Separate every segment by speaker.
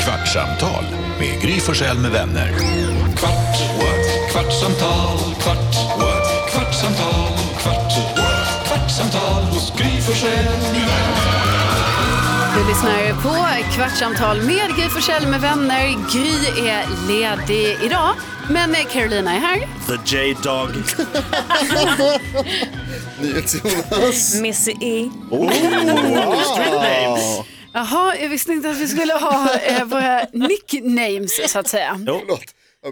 Speaker 1: Kvartsamtal med Gry Forssell med vänner.
Speaker 2: Kvart, what? kvartsamtal, kvart, what? kvartsamtal, kvart, what? kvartsamtal hos Gry Forssell med vänner.
Speaker 3: Du lyssnar ju på Kvartsamtal med Gry Forssell med vänner. Gry är ledig idag, men Carolina är här.
Speaker 4: The J-Dog.
Speaker 5: Jonas.
Speaker 6: Missy E.
Speaker 3: Oh.
Speaker 4: Names.
Speaker 3: Jaha, jag visste inte att vi skulle ha eh, våra nicknames så att säga.
Speaker 5: Förlåt.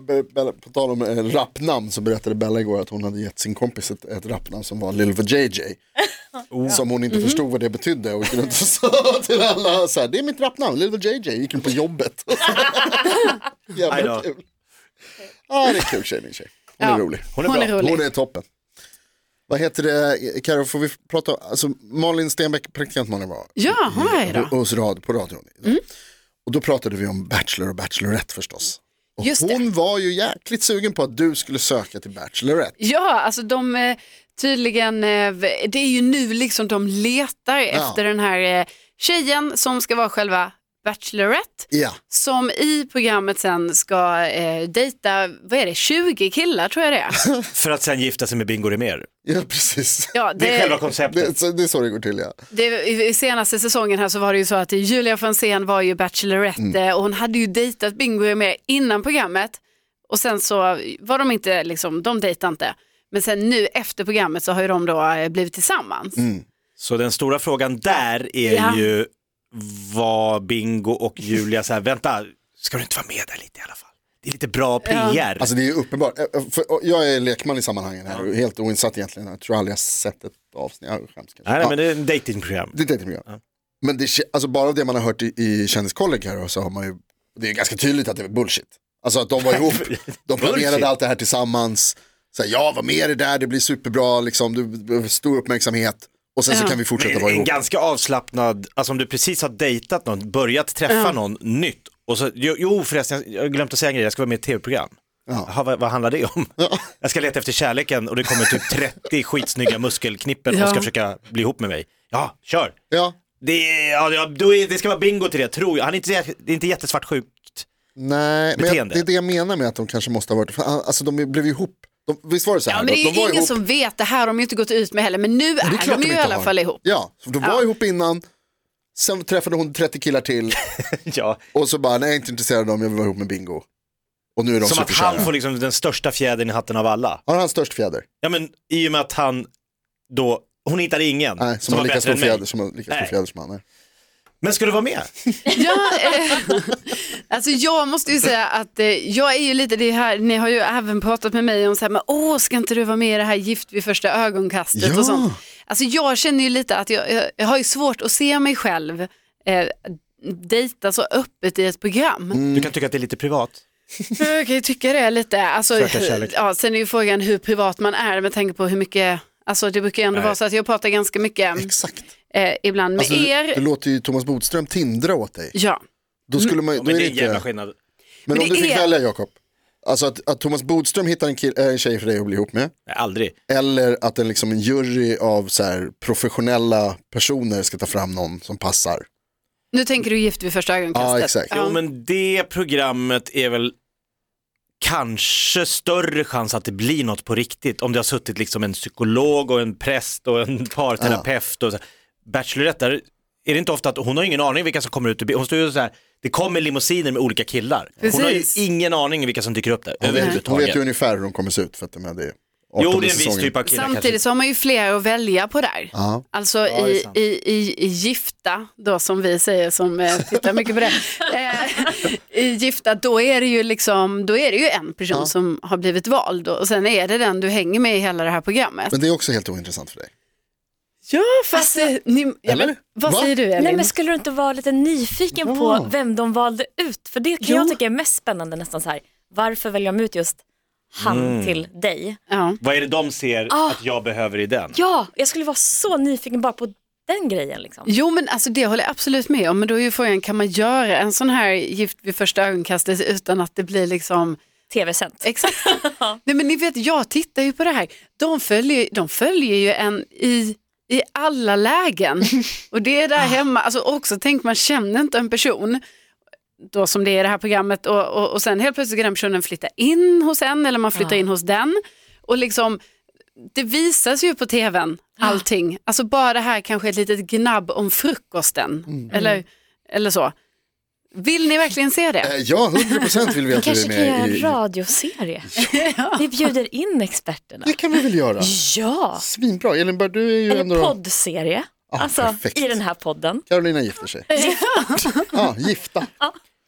Speaker 5: Be- Bella, på tal om eh, rappnamn så berättade Bella igår att hon hade gett sin kompis ett, ett rappnamn som var Lil JJ.
Speaker 3: Oh.
Speaker 5: Som hon
Speaker 3: Mm.
Speaker 5: inte förstod vad det betydde och gick runt och sa till alla så här, det är mitt rappnamn, Lil JJ, gick runt på jobbet.
Speaker 4: Aj då.
Speaker 5: Jävla kul. Ja, det är kul tjej min tjej. Hon är
Speaker 3: Ja,
Speaker 5: rolig.
Speaker 3: hon är hon är bra. rolig.
Speaker 5: Hon är toppen. Vad heter det, Karo, får vi prata, alltså Malin Stenbeck, praktikant Malin var
Speaker 3: Ja, hon är här idag.
Speaker 5: hos rad, på radion. Och då pratade vi om Bachelor och Bachelorette förstås. Och
Speaker 3: Just det.
Speaker 5: hon var ju jäkligt sugen på att du skulle söka till Bachelorette.
Speaker 3: Ja, alltså de eh, tydligen, eh, v- det är ju nu liksom de letar efter den här eh, tjejen som ska vara själva Bachelorette.
Speaker 5: Ja,
Speaker 3: Som i programmet sen ska eh, dejta, vad är det, 20 killar tror jag det är.
Speaker 4: För att sen gifta sig med Bingo Rimér.
Speaker 5: ja precis.
Speaker 3: Ja,
Speaker 4: Det är själva konceptet.
Speaker 5: Det, så, det är så det går till ja.
Speaker 3: Det, I i senaste säsongen här så var det ju så att Julia Franzén var ju Bachelorette
Speaker 5: Mm.
Speaker 3: eh, och hon hade ju dejtat Bingo med innan programmet och sen så var de inte, liksom, de dejtade inte. Men sen nu efter programmet så har ju de då eh, blivit tillsammans.
Speaker 5: Mm.
Speaker 4: Så den stora frågan där är
Speaker 3: Ja.
Speaker 4: ju vad Bingo och Julia så här, vänta, ska du inte vara med där lite i alla fall? Det är lite bra PR.
Speaker 5: Alltså det är ju uppenbart. Ä- ä- För och jag är lekman i sammanhangen här och helt oinsatt egentligen. Jag tror aldrig jag sett ett avsnitt. Jag skäms kanske.
Speaker 4: nej, nej,
Speaker 5: Ja,
Speaker 4: men det är en dejtingprogram.
Speaker 5: det är ett program. Men det, kä- alltså bara det man har hört i, i Kändiskolleg här och så har man ju, det är ganska tydligt att det är bullshit. Alltså att de var ihop, de
Speaker 4: Bullshit.
Speaker 5: planerade allt det här tillsammans. Så här, ja, var med i det där, det blir superbra, liksom, du behöver stor uppmärksamhet. Och sen så
Speaker 3: Ja.
Speaker 5: kan vi fortsätta vara
Speaker 4: en
Speaker 5: ihop.
Speaker 4: ganska avslappnad, alltså om du precis har dejtat någon, börjat träffa någon nytt. Och så, jo, jo förresten, jag har glömt att säga en grej, jag ska vara med i ett tv-program. Jaha, vad, vad handlar det om? Jag ska leta efter kärleken och det kommer typ 30 skitsnygga muskelknippen
Speaker 3: Ja.
Speaker 4: och ska försöka bli ihop med mig. Ja, kör!
Speaker 5: Ja,
Speaker 4: Det, är- ja, ja, då är, det ska vara bingo till det, tror jag. Han är inte, det är inte jättesvartsjukt.
Speaker 5: nej, men jag,
Speaker 4: Beteende.
Speaker 5: det är det jag menar med att de kanske måste ha varit, för, alltså de blev ju ihop, de, visst var det så här?
Speaker 3: Ja, men det är ju
Speaker 5: de var
Speaker 3: ingen
Speaker 5: ihop.
Speaker 3: som vet, det här har de ju inte gått ut med heller, men nu
Speaker 5: Det är
Speaker 3: är,
Speaker 5: klart
Speaker 3: de ju i
Speaker 5: inte
Speaker 3: alla
Speaker 5: har.
Speaker 3: fall ihop.
Speaker 5: Ja, för de var ihop innan, sen träffade hon 30 killar till
Speaker 4: Ja.
Speaker 5: och så bara, nej jag är inte intresserad av dem, jag vill vara ihop med Bingo. Och nu är de
Speaker 4: Som att
Speaker 5: superkära.
Speaker 4: han får Mm. liksom den största fjädern i hatten av alla.
Speaker 5: Har han störst fjäder?
Speaker 4: Ja, men i och med att han då, hon hittade ingen
Speaker 5: Nej, som, har lika stor
Speaker 4: än mig.
Speaker 5: fjäder som, har lika stor
Speaker 4: Nej.
Speaker 5: fjäder som han. Nej.
Speaker 4: Men ska du vara med?
Speaker 3: Ja, eh, alltså jag måste ju säga att eh, jag är ju lite det här, ni har ju även pratat med mig om så här, men åh ska inte du vara med i det här Gift vid första ögonkastet
Speaker 5: Ja.
Speaker 3: och sånt. Alltså jag känner ju lite att jag, jag, jag har ju svårt att se mig själv eh, dejta så öppet i ett program.
Speaker 5: Mm.
Speaker 4: Du kan tycka att det är lite privat.
Speaker 3: Jag kan ju tycka det lite, alltså,
Speaker 4: Söka kärlek.
Speaker 3: ja, sen är ju frågan hur privat man är med tanke på hur mycket, alltså det brukar ju ändå
Speaker 4: Nej.
Speaker 3: vara så att jag pratar ganska mycket
Speaker 5: Exakt.
Speaker 3: eh, ibland med
Speaker 5: Alltså,
Speaker 3: er.
Speaker 5: Du, du låter ju Thomas Bodström tindra åt dig.
Speaker 3: Ja.
Speaker 5: Då skulle
Speaker 4: Mm.
Speaker 5: man,
Speaker 4: Ja,
Speaker 5: då
Speaker 4: men
Speaker 5: är
Speaker 4: det
Speaker 5: det
Speaker 4: är en jävla
Speaker 5: inte,
Speaker 4: skillnad.
Speaker 5: men
Speaker 3: Men
Speaker 5: om du
Speaker 3: det
Speaker 5: fick
Speaker 3: är-
Speaker 5: välja Jakob, alltså att, att Thomas Bodström hittar en, kill, äh, en tjej för dig att bli ihop med,
Speaker 4: Nej, aldrig.
Speaker 5: eller att en, liksom, en jury av så här, professionella personer ska ta fram någon som passar.
Speaker 3: Nu tänker du Gift vid första ögonkastet.
Speaker 5: Ja, exakt.
Speaker 4: Jo, men det programmet är väl kanske större chans att det blir något på riktigt om det har suttit liksom en psykolog och en präst och en parterapeut. Och så. Bachelorette, där är det inte ofta att hon har ingen aning vilka som kommer ut. ur bi- Hon står ju så här, det kommer limousiner med olika killar. Hon har ju
Speaker 3: Precis.
Speaker 4: ingen aning vilka som dyker upp där
Speaker 5: Hon
Speaker 4: överhuvudtaget.
Speaker 5: vet ju ungefär hur de kommer se ut för att de är det är
Speaker 4: Jo, det
Speaker 5: 18:e
Speaker 4: är en viss
Speaker 5: säsongen.
Speaker 4: typ av killar
Speaker 3: Samtidigt så har man ju fler att välja på där.
Speaker 5: Ja.
Speaker 3: Alltså
Speaker 4: Ja, det är
Speaker 3: i,
Speaker 4: sant.
Speaker 3: i, i, i gifta, då som vi säger som eh, tittar mycket på det. Eh, I gifta, då är det ju liksom, då är det ju en person som har blivit vald och sen är det den du hänger med i hela det här programmet.
Speaker 5: Men det är också helt ointressant för dig.
Speaker 3: ja, fast eh, ni, ja, men,
Speaker 5: Eller?
Speaker 3: vad
Speaker 5: Va?
Speaker 3: säger du Elin?
Speaker 6: Nej men skulle du inte vara lite nyfiken på
Speaker 5: Ja.
Speaker 6: vem de valde ut? För det kan
Speaker 3: Jo.
Speaker 6: jag tycka är mest spännande nästan så här. Varför väljer de ut just han
Speaker 5: Mm.
Speaker 6: till dig?
Speaker 3: ja.
Speaker 4: Vad är det de ser
Speaker 6: Ah.
Speaker 4: att jag behöver i den?
Speaker 6: Ja, jag skulle vara så nyfiken bara på den grejen liksom.
Speaker 3: Jo men alltså det håller jag absolut med om, men då är ju frågan kan man göra en sån här gift vid första ögonkastet utan att det blir liksom
Speaker 6: Tv-sänt.
Speaker 3: Exakt. Nej, men ni vet, jag tittar ju på det här. De följer, de följer ju en i, i alla lägen. Och det är där hemma, alltså också tänk man känner inte en person. då som det är i det här programmet och, och, och sen helt plötsligt kan den personen flytta in hos en eller man flyttar in hos den. Och liksom, det visas ju på tvn allting. Alltså bara det här kanske ett litet gnabb om frukosten eller, eller så. Vill ni verkligen se
Speaker 5: Eh,
Speaker 3: det?
Speaker 5: Ja, 100% vill vi att du är
Speaker 6: Kanske kan
Speaker 5: med
Speaker 6: göra
Speaker 5: i...
Speaker 6: en radioserie. Vi bjuder in experterna.
Speaker 5: Det kan vi väl göra?
Speaker 6: Ja,
Speaker 5: Svinbra, Elin Bär, du är ju
Speaker 6: eller
Speaker 5: ändå...
Speaker 6: poddserie.
Speaker 5: Ja,
Speaker 6: Alltså
Speaker 5: perfekt.
Speaker 6: i den här podden.
Speaker 5: Carolina gifter sig. Ja, gifta.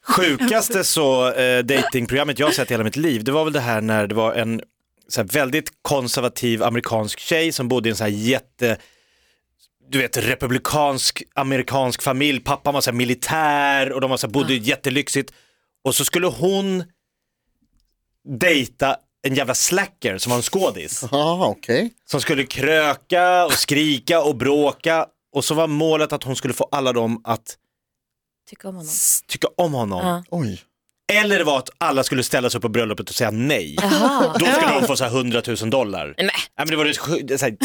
Speaker 4: Sjukaste så eh, datingprogrammet jag har sett i hela mitt liv, det var väl det här när det var en så här, väldigt konservativ amerikansk tjej som bodde i en så här jätte, du vet republikansk amerikansk familj, pappan var så här militär och de var så här, bodde jättelyxigt och så skulle hon dejta en jävla slacker som var en skådis
Speaker 5: Ja, Ah, okej.
Speaker 4: som skulle kröka och skrika och bråka och så var målet att hon skulle få alla dem att
Speaker 6: Tycker om honom.
Speaker 4: s- tycka om honom.
Speaker 6: Ja.
Speaker 5: Oj.
Speaker 4: Eller det var att alla skulle ställa sig upp på bröllopet och säga nej.
Speaker 6: Jaha.
Speaker 4: Då skulle de få så här 100 000 dollar. Nej men det var det sju- det är så här,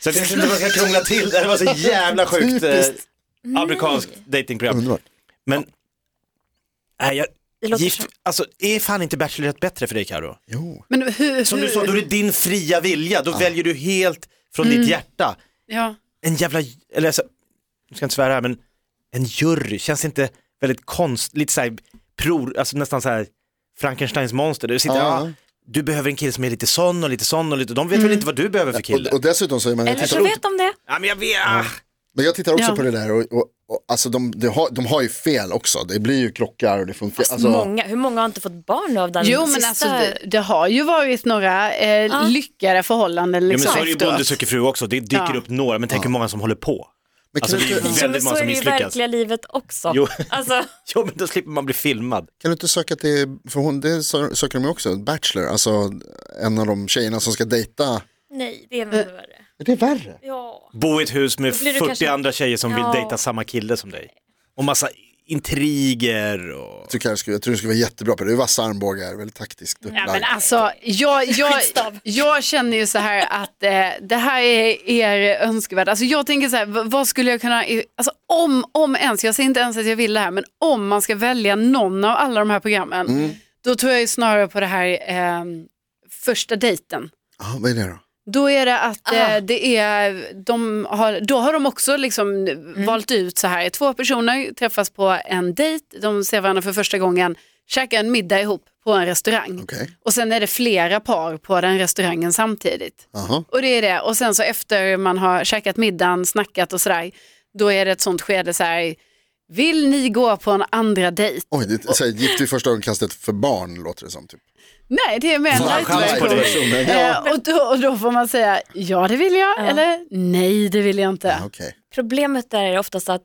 Speaker 4: så att jag vet inte vad jag ska krångla till det. Det var så jävla sjukt eh,
Speaker 5: Typiskt. Mm.
Speaker 4: amerikanskt datingprogram.
Speaker 5: Underbart.
Speaker 4: Men, nej jag,
Speaker 6: Det låter
Speaker 4: gift,
Speaker 6: som-
Speaker 4: alltså är fan inte Bachelorette bättre för dig Karo?
Speaker 5: Jo.
Speaker 3: Men hur,
Speaker 4: Som du sa, då är det din fria vilja, då väljer du helt från ditt hjärta.
Speaker 3: ja.
Speaker 4: En jävla, eller alltså, nu ska jag inte svära här men, en jury, känns inte väldigt konst, lite såhär, pror, alltså nästan så här Frankensteins monster, du sitter,
Speaker 5: Ja. Mm.
Speaker 4: ah, du behöver en kille som är lite sån och lite sån och lite, de vet väl inte vad du behöver för kille?
Speaker 5: Och, och dessutom så är man... jag
Speaker 6: Eller
Speaker 5: tittar
Speaker 6: så vet de det.
Speaker 4: Ja men jag vet, ah.
Speaker 5: Men jag tittar också
Speaker 3: Ja.
Speaker 5: på det där och, och, och alltså de, de, har, de har ju fel också. Det blir ju krockar och det funkar. Alltså,
Speaker 6: många, hur många har inte fått barn nu av den
Speaker 3: Jo men
Speaker 6: sista?
Speaker 3: alltså det, det har ju varit några eh, lyckade förhållanden
Speaker 4: Jo, men
Speaker 3: liksom
Speaker 4: så är det ju
Speaker 3: efteråt.
Speaker 4: Bonde söker fru också, det dyker
Speaker 3: Ja.
Speaker 4: upp några, men tänk hur många som håller på.
Speaker 5: men kan,
Speaker 4: Alltså,
Speaker 5: du
Speaker 4: det är
Speaker 5: inte,
Speaker 4: ju-
Speaker 6: Jo,
Speaker 4: väldigt
Speaker 6: men
Speaker 4: många
Speaker 6: så är
Speaker 4: som
Speaker 6: det ju i
Speaker 4: misslyckas.
Speaker 6: verkliga livet också.
Speaker 4: Jo.
Speaker 6: Alltså,
Speaker 4: Jo men då slipper man bli filmad.
Speaker 5: kan du inte söka till, för hon, det sö- söker de ju också, Bachelor, alltså en av de tjejerna som ska dejta.
Speaker 6: nej, det är nog värre.
Speaker 5: Är det värre?
Speaker 6: eh, Ja.
Speaker 4: Bo i ett hus med
Speaker 6: Då blir du
Speaker 4: 40
Speaker 6: kanske-
Speaker 4: andra tjejer som
Speaker 6: Ja.
Speaker 4: vill dejta samma kille som dig. Och massa intriger och...
Speaker 5: Jag tycker, jag, skulle, jag tror du skulle vara jättebra på det, det är vassa armbågar, väldigt taktiskt upplagd.
Speaker 3: Ja, men alltså, jag, jag,
Speaker 6: Skitstav.
Speaker 3: jag känner ju så här att eh, det här är er önskevärld. Alltså, jag tänker så här, v- vad skulle jag kunna, alltså, om, om ens, jag säger inte ens att jag vill det här, men om man ska välja någon av alla de här programmen,
Speaker 4: Mm.
Speaker 3: då tror jag ju snarare på det här eh, första dejten.
Speaker 5: Ja, vad är det då?
Speaker 3: Då är det att eh,
Speaker 6: Ah.
Speaker 3: det är, de har, då har de också liksom valt ut så här, två personer träffas på en dejt, de ser varandra för första gången, käkar en middag ihop på en restaurang.
Speaker 5: Okej.
Speaker 3: Och sen är det flera par på den restaurangen samtidigt.
Speaker 5: Jaha.
Speaker 3: Och det är det, och sen så efter man har käkat middagen, snackat och sådär, då är det ett sånt skede så här, vill ni gå på en andra dejt?
Speaker 5: Oj, det är så här, gift vid första ögonkastet för barn låter det som. Typ.
Speaker 3: Nej, det är mer en
Speaker 4: Fan,
Speaker 3: light
Speaker 4: chans på
Speaker 3: version.
Speaker 4: det.
Speaker 3: Eh, och, då, och då får man säga ja det vill jag eller nej det vill jag inte.
Speaker 5: Ja, Okej.
Speaker 6: Problemet där är oftast att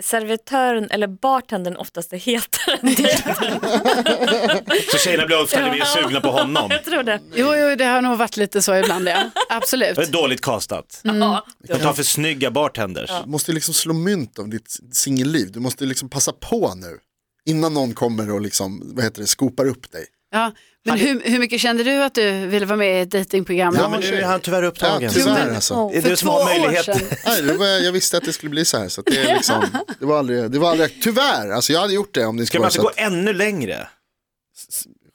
Speaker 6: servitören eller bartendern oftast är hetare än dig.
Speaker 4: Så tjejerna blir uppställda, vi är sugna på honom.
Speaker 6: Jag tror det.
Speaker 3: Jo, jo, det har nog varit lite så ibland ja. Absolut.
Speaker 4: Det är dåligt castat.
Speaker 3: Mm.
Speaker 6: Ja.
Speaker 4: De tar för snygga bartenders.
Speaker 5: Du måste ju liksom slå mynt av ditt singelliv, du måste ju liksom passa på nu. Innan någon kommer och liksom, vad heter det, skopar upp dig.
Speaker 3: Ja. Men hur, hur mycket kände du att du ville vara med i ett dejtingprogram?
Speaker 5: Ja,
Speaker 4: Ja, men nu är han tyvärr
Speaker 5: Ja,
Speaker 4: upptagen.
Speaker 5: tyvärr alltså.
Speaker 6: Mm. Ja.
Speaker 4: Det är
Speaker 3: För
Speaker 4: du som
Speaker 3: två
Speaker 4: har
Speaker 3: år
Speaker 4: möjlighet.
Speaker 3: sedan.
Speaker 5: Nej, det var, jag visste att det skulle bli så här. Så att det, är liksom, det, var aldrig, det var aldrig, tyvärr, alltså jag hade gjort det om det
Speaker 4: Ska
Speaker 5: skulle
Speaker 4: man
Speaker 5: vara
Speaker 4: inte
Speaker 5: så
Speaker 4: gå
Speaker 5: att,
Speaker 4: ännu längre?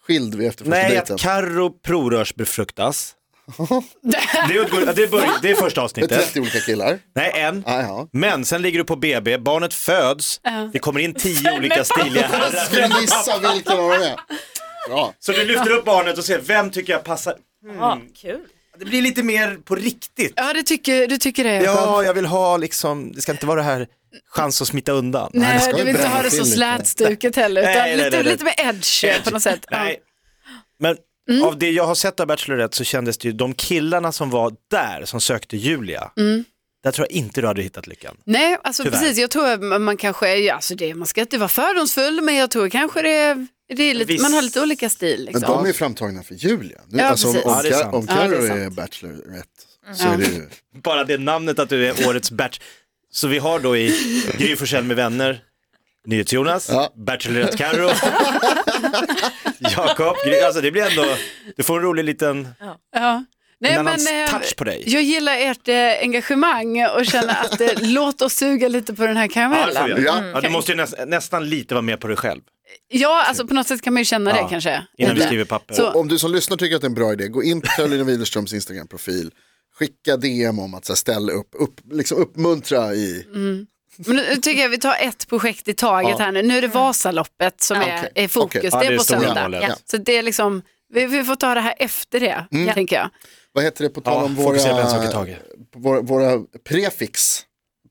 Speaker 5: skild vid efter första
Speaker 4: Nej,
Speaker 5: dejten.
Speaker 4: att Carro prorörsbefruktas. det, utgår, det, börjar, det är första
Speaker 5: Med
Speaker 4: avsnittet.
Speaker 5: 30 olika killar.
Speaker 4: Nej, en.
Speaker 5: Ah, ja.
Speaker 4: Men sen ligger du på BB, barnet föds, det kommer in tio olika stiliga herrar.
Speaker 5: Ska du gissa vilken av dem är? Bra.
Speaker 4: Så du lyfter upp barnet och ser, vem tycker jag passar?
Speaker 6: Ja, kul.
Speaker 4: Det blir lite mer på riktigt.
Speaker 3: Ja, det tycker, du tycker det. Jakob.
Speaker 4: Ja, jag vill ha liksom, det ska inte vara det här chans att smita undan.
Speaker 5: det ska
Speaker 3: Nej,
Speaker 5: ju
Speaker 3: du vill inte
Speaker 5: bränna
Speaker 3: ha det så
Speaker 5: till lite.
Speaker 3: slätstuket heller, utan
Speaker 4: Nej, nej,
Speaker 3: lite,
Speaker 4: nej, nej.
Speaker 3: lite mer edge, på något sätt. Ja.
Speaker 4: Typ.
Speaker 3: Mm.
Speaker 4: Nej. Men av det jag har sett av Bachelorette så kändes det ju, de killarna som var där som sökte Julia,
Speaker 3: Mm.
Speaker 4: där tror jag inte du hade hittat lyckan.
Speaker 3: Nej, alltså
Speaker 4: Tyvärr.
Speaker 3: precis, jag tror att man- man kanske, ja, alltså det, man ska inte vara fördomsfull, men jag tror kanske det, det är lite,
Speaker 4: Viss-
Speaker 3: man har lite olika stil.
Speaker 5: Men
Speaker 3: Liksom.
Speaker 5: de är ju framtagna för Julia. Nu,
Speaker 3: Ja,
Speaker 5: alltså, om,
Speaker 3: precis.
Speaker 5: om,
Speaker 4: Ja, det är
Speaker 5: Ka-
Speaker 4: sant.
Speaker 5: om
Speaker 3: Ja, det är
Speaker 5: Carro är
Speaker 3: sant.
Speaker 5: Bachelorette så är det ju...
Speaker 4: Bara det namnet att du är årets batch. Så vi har då i Gry Forssell med vänner, NyhetsJonas,
Speaker 5: Ja.
Speaker 4: Bachelorette Carro, Jakob, Gry, alltså det blir ändå, du får en rolig liten,
Speaker 3: Ja.
Speaker 4: en
Speaker 3: Nej,
Speaker 4: annan
Speaker 3: men, eh,
Speaker 4: touch på dig.
Speaker 3: Jag gillar ert eh, engagemang och känner att eh, låt oss suga lite på den här
Speaker 4: Ja, det får vi
Speaker 3: karamellen.
Speaker 4: göra.
Speaker 5: Ja.
Speaker 4: ja, du måste ju näs, nästan lite vara med på dig själv
Speaker 3: Ja, alltså på något sätt kan man ju känna det
Speaker 4: Ja,
Speaker 3: kanske.
Speaker 4: innan du
Speaker 3: Lite.
Speaker 4: skriver papper.
Speaker 3: Så,
Speaker 5: Om du som lyssnar tycker att det är en bra idé, gå in på Karolina Widerströms Instagram-profil, skicka DM om att så här, ställa upp, upp liksom uppmuntra i,
Speaker 3: men nu tycker jag vi tar ett projekt i taget här nu. Nu är det Vasaloppet som är,
Speaker 5: okej.
Speaker 3: är fokus,
Speaker 5: Okej.
Speaker 4: Ja,
Speaker 3: det
Speaker 4: det
Speaker 3: är
Speaker 4: är
Speaker 3: på
Speaker 4: stora
Speaker 3: söndag.
Speaker 4: målet.
Speaker 3: Ja. Så det är liksom, vi, vi får ta det här efter det, tänker jag.
Speaker 5: vad heter det på tal
Speaker 4: Ja,
Speaker 5: om
Speaker 4: fokusera på en sak i
Speaker 5: våra,
Speaker 4: taget.
Speaker 5: våra, våra prefix,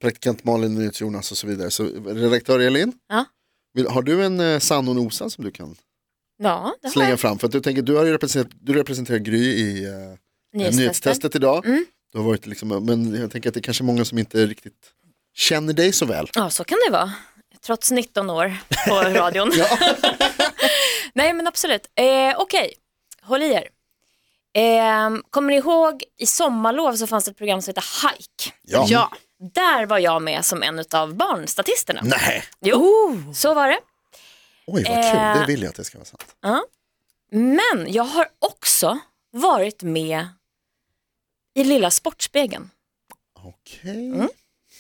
Speaker 5: praktikant Malin, Nyhets Jonas och så vidare. Så redaktör Elin,
Speaker 6: Ja.
Speaker 5: vill- har du en eh, sann och nosa som du kan
Speaker 6: Ja, det har
Speaker 5: slänga
Speaker 6: jag.
Speaker 5: fram? För att du tänker, du, har ju representerat, du representerar Gry i eh,
Speaker 6: Nyhetstestet.
Speaker 5: nyhetstestet idag.
Speaker 6: Mm.
Speaker 5: Du har varit liksom, men jag tänker att det är kanske är många som inte riktigt känner dig så väl.
Speaker 6: Ja, så kan det vara. Trots 19 år på radion. Nej, men absolut. Eh, Okej, håll i er. Eh, kommer ni ihåg i sommarlov så fanns det ett program som hette Hike.
Speaker 5: Ja.
Speaker 3: Ja.
Speaker 6: Där var jag med som en av barnstatisterna.
Speaker 5: Nej,
Speaker 6: Jo, så var det.
Speaker 5: oj vad kul,
Speaker 6: Eh.
Speaker 5: det vill jag att det ska vara sant.
Speaker 6: Men jag har också varit med i Lilla Sportspegeln.
Speaker 5: Okej.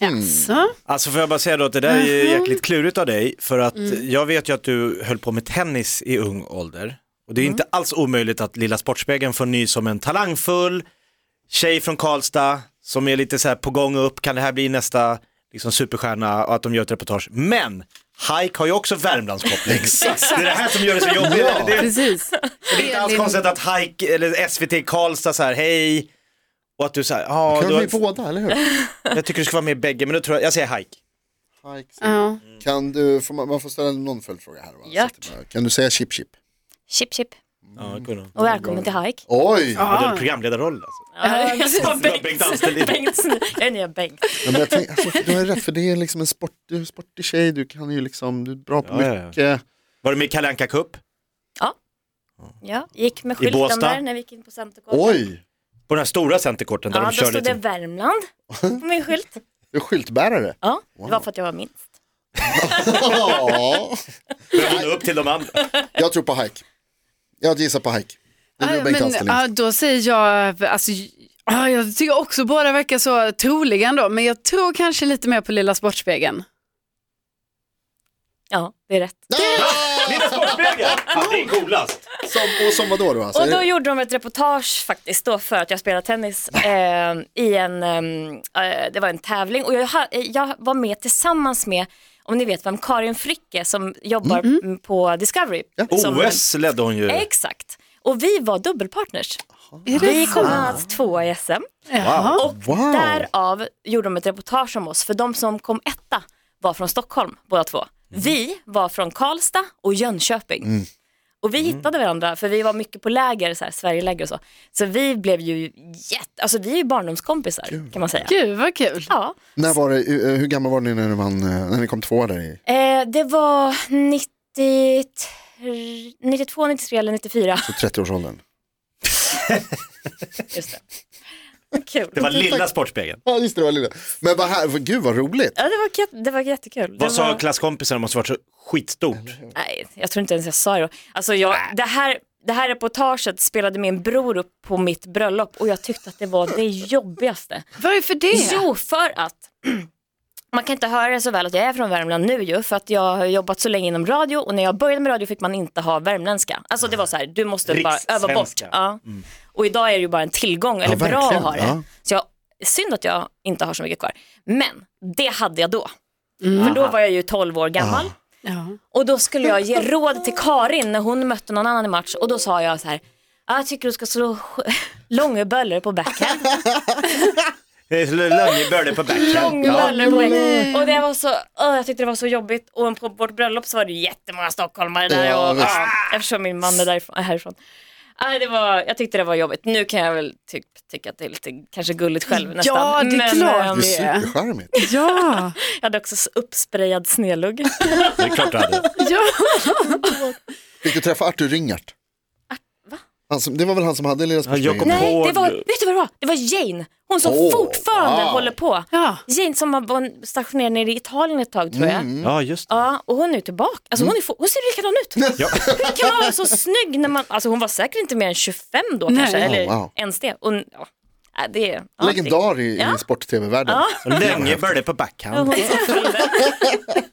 Speaker 3: Jaså?
Speaker 4: Alltså får jag bara säga då att det där är ju jäkligt klurigt av dig för att jag vet ju att du höll på med tennis i ung ålder och det är inte alls omöjligt att lilla Sportspegeln får ny som en talangfull tjej från Karlstad som är lite så här på gång upp, kan det här bli nästa liksom, superstjärna och att de gör ett reportage. Men Hike har ju också Värmlandskoppling. Det är det här som gör det så jobbigt. Det är
Speaker 3: Precis.
Speaker 4: inte alls konstigt att Hike eller SVT Karlstad så här, hej, och att du så här, ja, du
Speaker 5: Kan de
Speaker 4: har,
Speaker 5: bli båda, eller hur?
Speaker 4: jag tycker du ska vara med i bägge, men då tror jag, jag säger Hike.
Speaker 3: Ja.
Speaker 4: Mm.
Speaker 5: Kan du, får man, man får ställa någon följdfråga här va? Så
Speaker 6: Japp.
Speaker 5: att det bara- Kan du säga chip chip?
Speaker 6: Chip chip
Speaker 4: Ja, det kunde hon.
Speaker 6: och välkommen till Hike.
Speaker 5: Oj!
Speaker 4: Ja,
Speaker 6: Ah.
Speaker 4: du hade programledarroll alltså.
Speaker 6: Ja, jag sa
Speaker 4: Det var
Speaker 6: Bengt.
Speaker 4: Bengt Anställning.
Speaker 6: Bengt. Jag är nya Bengt.
Speaker 5: Ja, men jag tänk, alltså, du har rätt för det är liksom en sport, du är en sportig tjej, du kan ju liksom, du är bra på
Speaker 4: Ja, ja, ja.
Speaker 5: mycket.
Speaker 4: Var du med i Kalle Anka Cup?
Speaker 6: Ja, gick med skylten
Speaker 4: Båstad?
Speaker 6: där när vi gick in på Centergården.
Speaker 5: Oj,
Speaker 4: På den här stora centerkorten där
Speaker 6: Ja,
Speaker 4: de
Speaker 6: då
Speaker 4: kör
Speaker 6: stod det
Speaker 4: lite.
Speaker 6: Värmland på min skylt.
Speaker 5: du är skyltbärare.
Speaker 6: Ja, det var för att jag var minst.
Speaker 5: Ja,
Speaker 4: Började upp till de andra.
Speaker 5: jag tror på hike. Jag gissar på hike. Det
Speaker 3: Ja,
Speaker 5: blir Bengt
Speaker 3: men,
Speaker 5: Alsterlind.
Speaker 3: ja, då säger jag, alltså, ja, jag tycker också båda verkar så troliga ändå, men jag tror kanske lite mer på Lilla Sportspegeln.
Speaker 6: Ja, det är rätt.
Speaker 4: Lilla Sportspegeln! Ja, det är coolast.
Speaker 5: Ah! Som, och som vadå då? Alltså,
Speaker 6: Och
Speaker 5: Är
Speaker 6: då
Speaker 5: det-
Speaker 6: gjorde de ett reportage faktiskt då för att jag spelar tennis eh, i en, eh, det var en tävling och jag, ha- eh, jag var med tillsammans med, om ni vet vem Karin Fricke som jobbar m- på Discovery. Som,
Speaker 4: OS ledde hon ju.
Speaker 6: Exakt. Och vi var dubbelpartners.
Speaker 3: Är det
Speaker 6: Vi
Speaker 3: så?
Speaker 6: kom alltså tvåa i SM.
Speaker 3: Jaha.
Speaker 6: Och
Speaker 5: Wow.
Speaker 6: därav gjorde de ett reportage om oss, för de som kom etta var från Stockholm båda två.
Speaker 4: Mhm.
Speaker 6: Vi var från Karlstad och Jönköping.
Speaker 4: Mm.
Speaker 6: Och vi
Speaker 4: Mhm.
Speaker 6: hittade varandra, för vi var mycket på läger, så här, Sverigeläger och så. Så vi blev ju jätte, alltså vi är ju barndomskompisar kan man säga.
Speaker 3: Gud vad kul.
Speaker 6: Ja,
Speaker 5: När var det, eh, hur gammal var ni när, ni vann, eh, när ni kom tvåa där i?
Speaker 6: eh, det var 93, 92, 93 eller 94.
Speaker 5: På 30-årsåldern?
Speaker 6: Just det. Kul.
Speaker 4: Det var Lilla Sportspegeln.
Speaker 5: Ja just det, det var lilla. Men vad här, gud vad roligt.
Speaker 6: Ja, det var, kat- det var jättekul.
Speaker 4: Vad
Speaker 6: det
Speaker 4: sa
Speaker 6: var...
Speaker 4: klasskompisarna? Det måste varit så skitstort.
Speaker 6: Nej, jag tror inte ens jag sa det. då. Alltså jag, det, här, det här reportaget spelade min bror upp på mitt bröllop och jag tyckte att det var det jobbigaste.
Speaker 3: Varför det?
Speaker 6: Jo, för att man kan inte höra det så väl att jag är från Värmland nu ju för att jag har jobbat så länge inom radio och när jag började med radio fick man inte ha värmländska. Alltså det var så här, du måste bara
Speaker 4: Rikssvenska.
Speaker 6: öva bort. Ja. Och idag är det ju bara en tillgång, eller bra
Speaker 5: verkligen.
Speaker 6: att ha det.
Speaker 5: Mm. Ja.
Speaker 6: Så jag, synd att jag inte har så mycket kvar. Men det hade jag då. För då var jag ju 12 år gammal.
Speaker 3: Ja.
Speaker 6: Och då skulle jag ge råd till Karin när hon mötte någon annan i match och då sa jag så här, "Ah, jag tycker du ska slå sj- långa böller på backhand.
Speaker 4: Eh, Löngebörde på backhand.
Speaker 6: Långa böller på backhand. Och det var så, åh, jag tyckte det var så jobbigt och på vårt bröllop så var det jättemånga stockholmare där
Speaker 5: Ja,
Speaker 6: och,
Speaker 5: visst.
Speaker 6: ah, eftersom min man är därifrån, är härifrån. Nej, det var, jag tyckte det var jobbigt. Nu kan jag väl ty- tycka att det är lite kanske gulligt själv nästan.
Speaker 3: Ja, det är klart.
Speaker 6: ehm,
Speaker 5: Det är
Speaker 3: Det är-
Speaker 5: supercharmigt.
Speaker 3: Ja.
Speaker 6: jag hade också uppsprejad snedlugg.
Speaker 4: Det är klart du hade.
Speaker 6: Mm.
Speaker 3: ja.
Speaker 5: Fick du träffa Arthur Ringart?
Speaker 6: va?
Speaker 5: Han som, det var väl han som hade Lilla
Speaker 4: Ja, jag
Speaker 5: Sportspegeln?
Speaker 4: kom på-
Speaker 6: Nej, det
Speaker 4: Hård.
Speaker 6: var, vet du vad det var? Det var Jane. Hon som
Speaker 5: Åh,
Speaker 6: fortfarande
Speaker 5: wow.
Speaker 6: håller på.
Speaker 3: Ja.
Speaker 6: Jane som var stationerad nere i Italien ett tag tror jag.
Speaker 4: Ja, just det.
Speaker 6: Ja, och hon är tillbaka.
Speaker 5: Mm.
Speaker 6: Alltså, hon, är, fo- hon ser likadan ut. Hur kan man vara så snygg när man, alltså hon var säkert inte mer än 25 då
Speaker 3: Nej.
Speaker 6: kanske, eller
Speaker 5: Ja, wow.
Speaker 6: ens det. Och, ja, äh, det är, ja,
Speaker 5: Legendar i,
Speaker 6: Ja.
Speaker 5: i sport-tv-världen.
Speaker 4: Länge började på
Speaker 6: det-
Speaker 4: backhand.
Speaker 6: Hon är så fulvärd.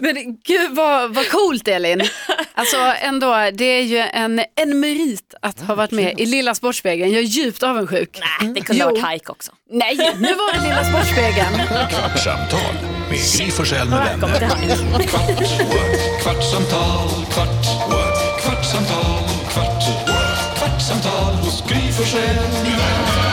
Speaker 3: Men gud vad, vad coolt Elin. Alltså ändå, det är ju en, en merit att ha varit med i Lilla Sportspegeln. Jag är djupt avundsjuk.
Speaker 6: Nej, det kunde ha
Speaker 3: Jo.
Speaker 6: varit hajk också.
Speaker 3: Nej, nu var det Lilla Sportspegeln.
Speaker 1: Kvartsamtal med Gry Forssell med
Speaker 6: Här kom
Speaker 1: vänner.
Speaker 6: det hajk.
Speaker 2: Kvart, what? kvartsamtal, kvart, what? kvartsamtal, kvart, what? kvartsamtal hos Gry Forssell med vänner.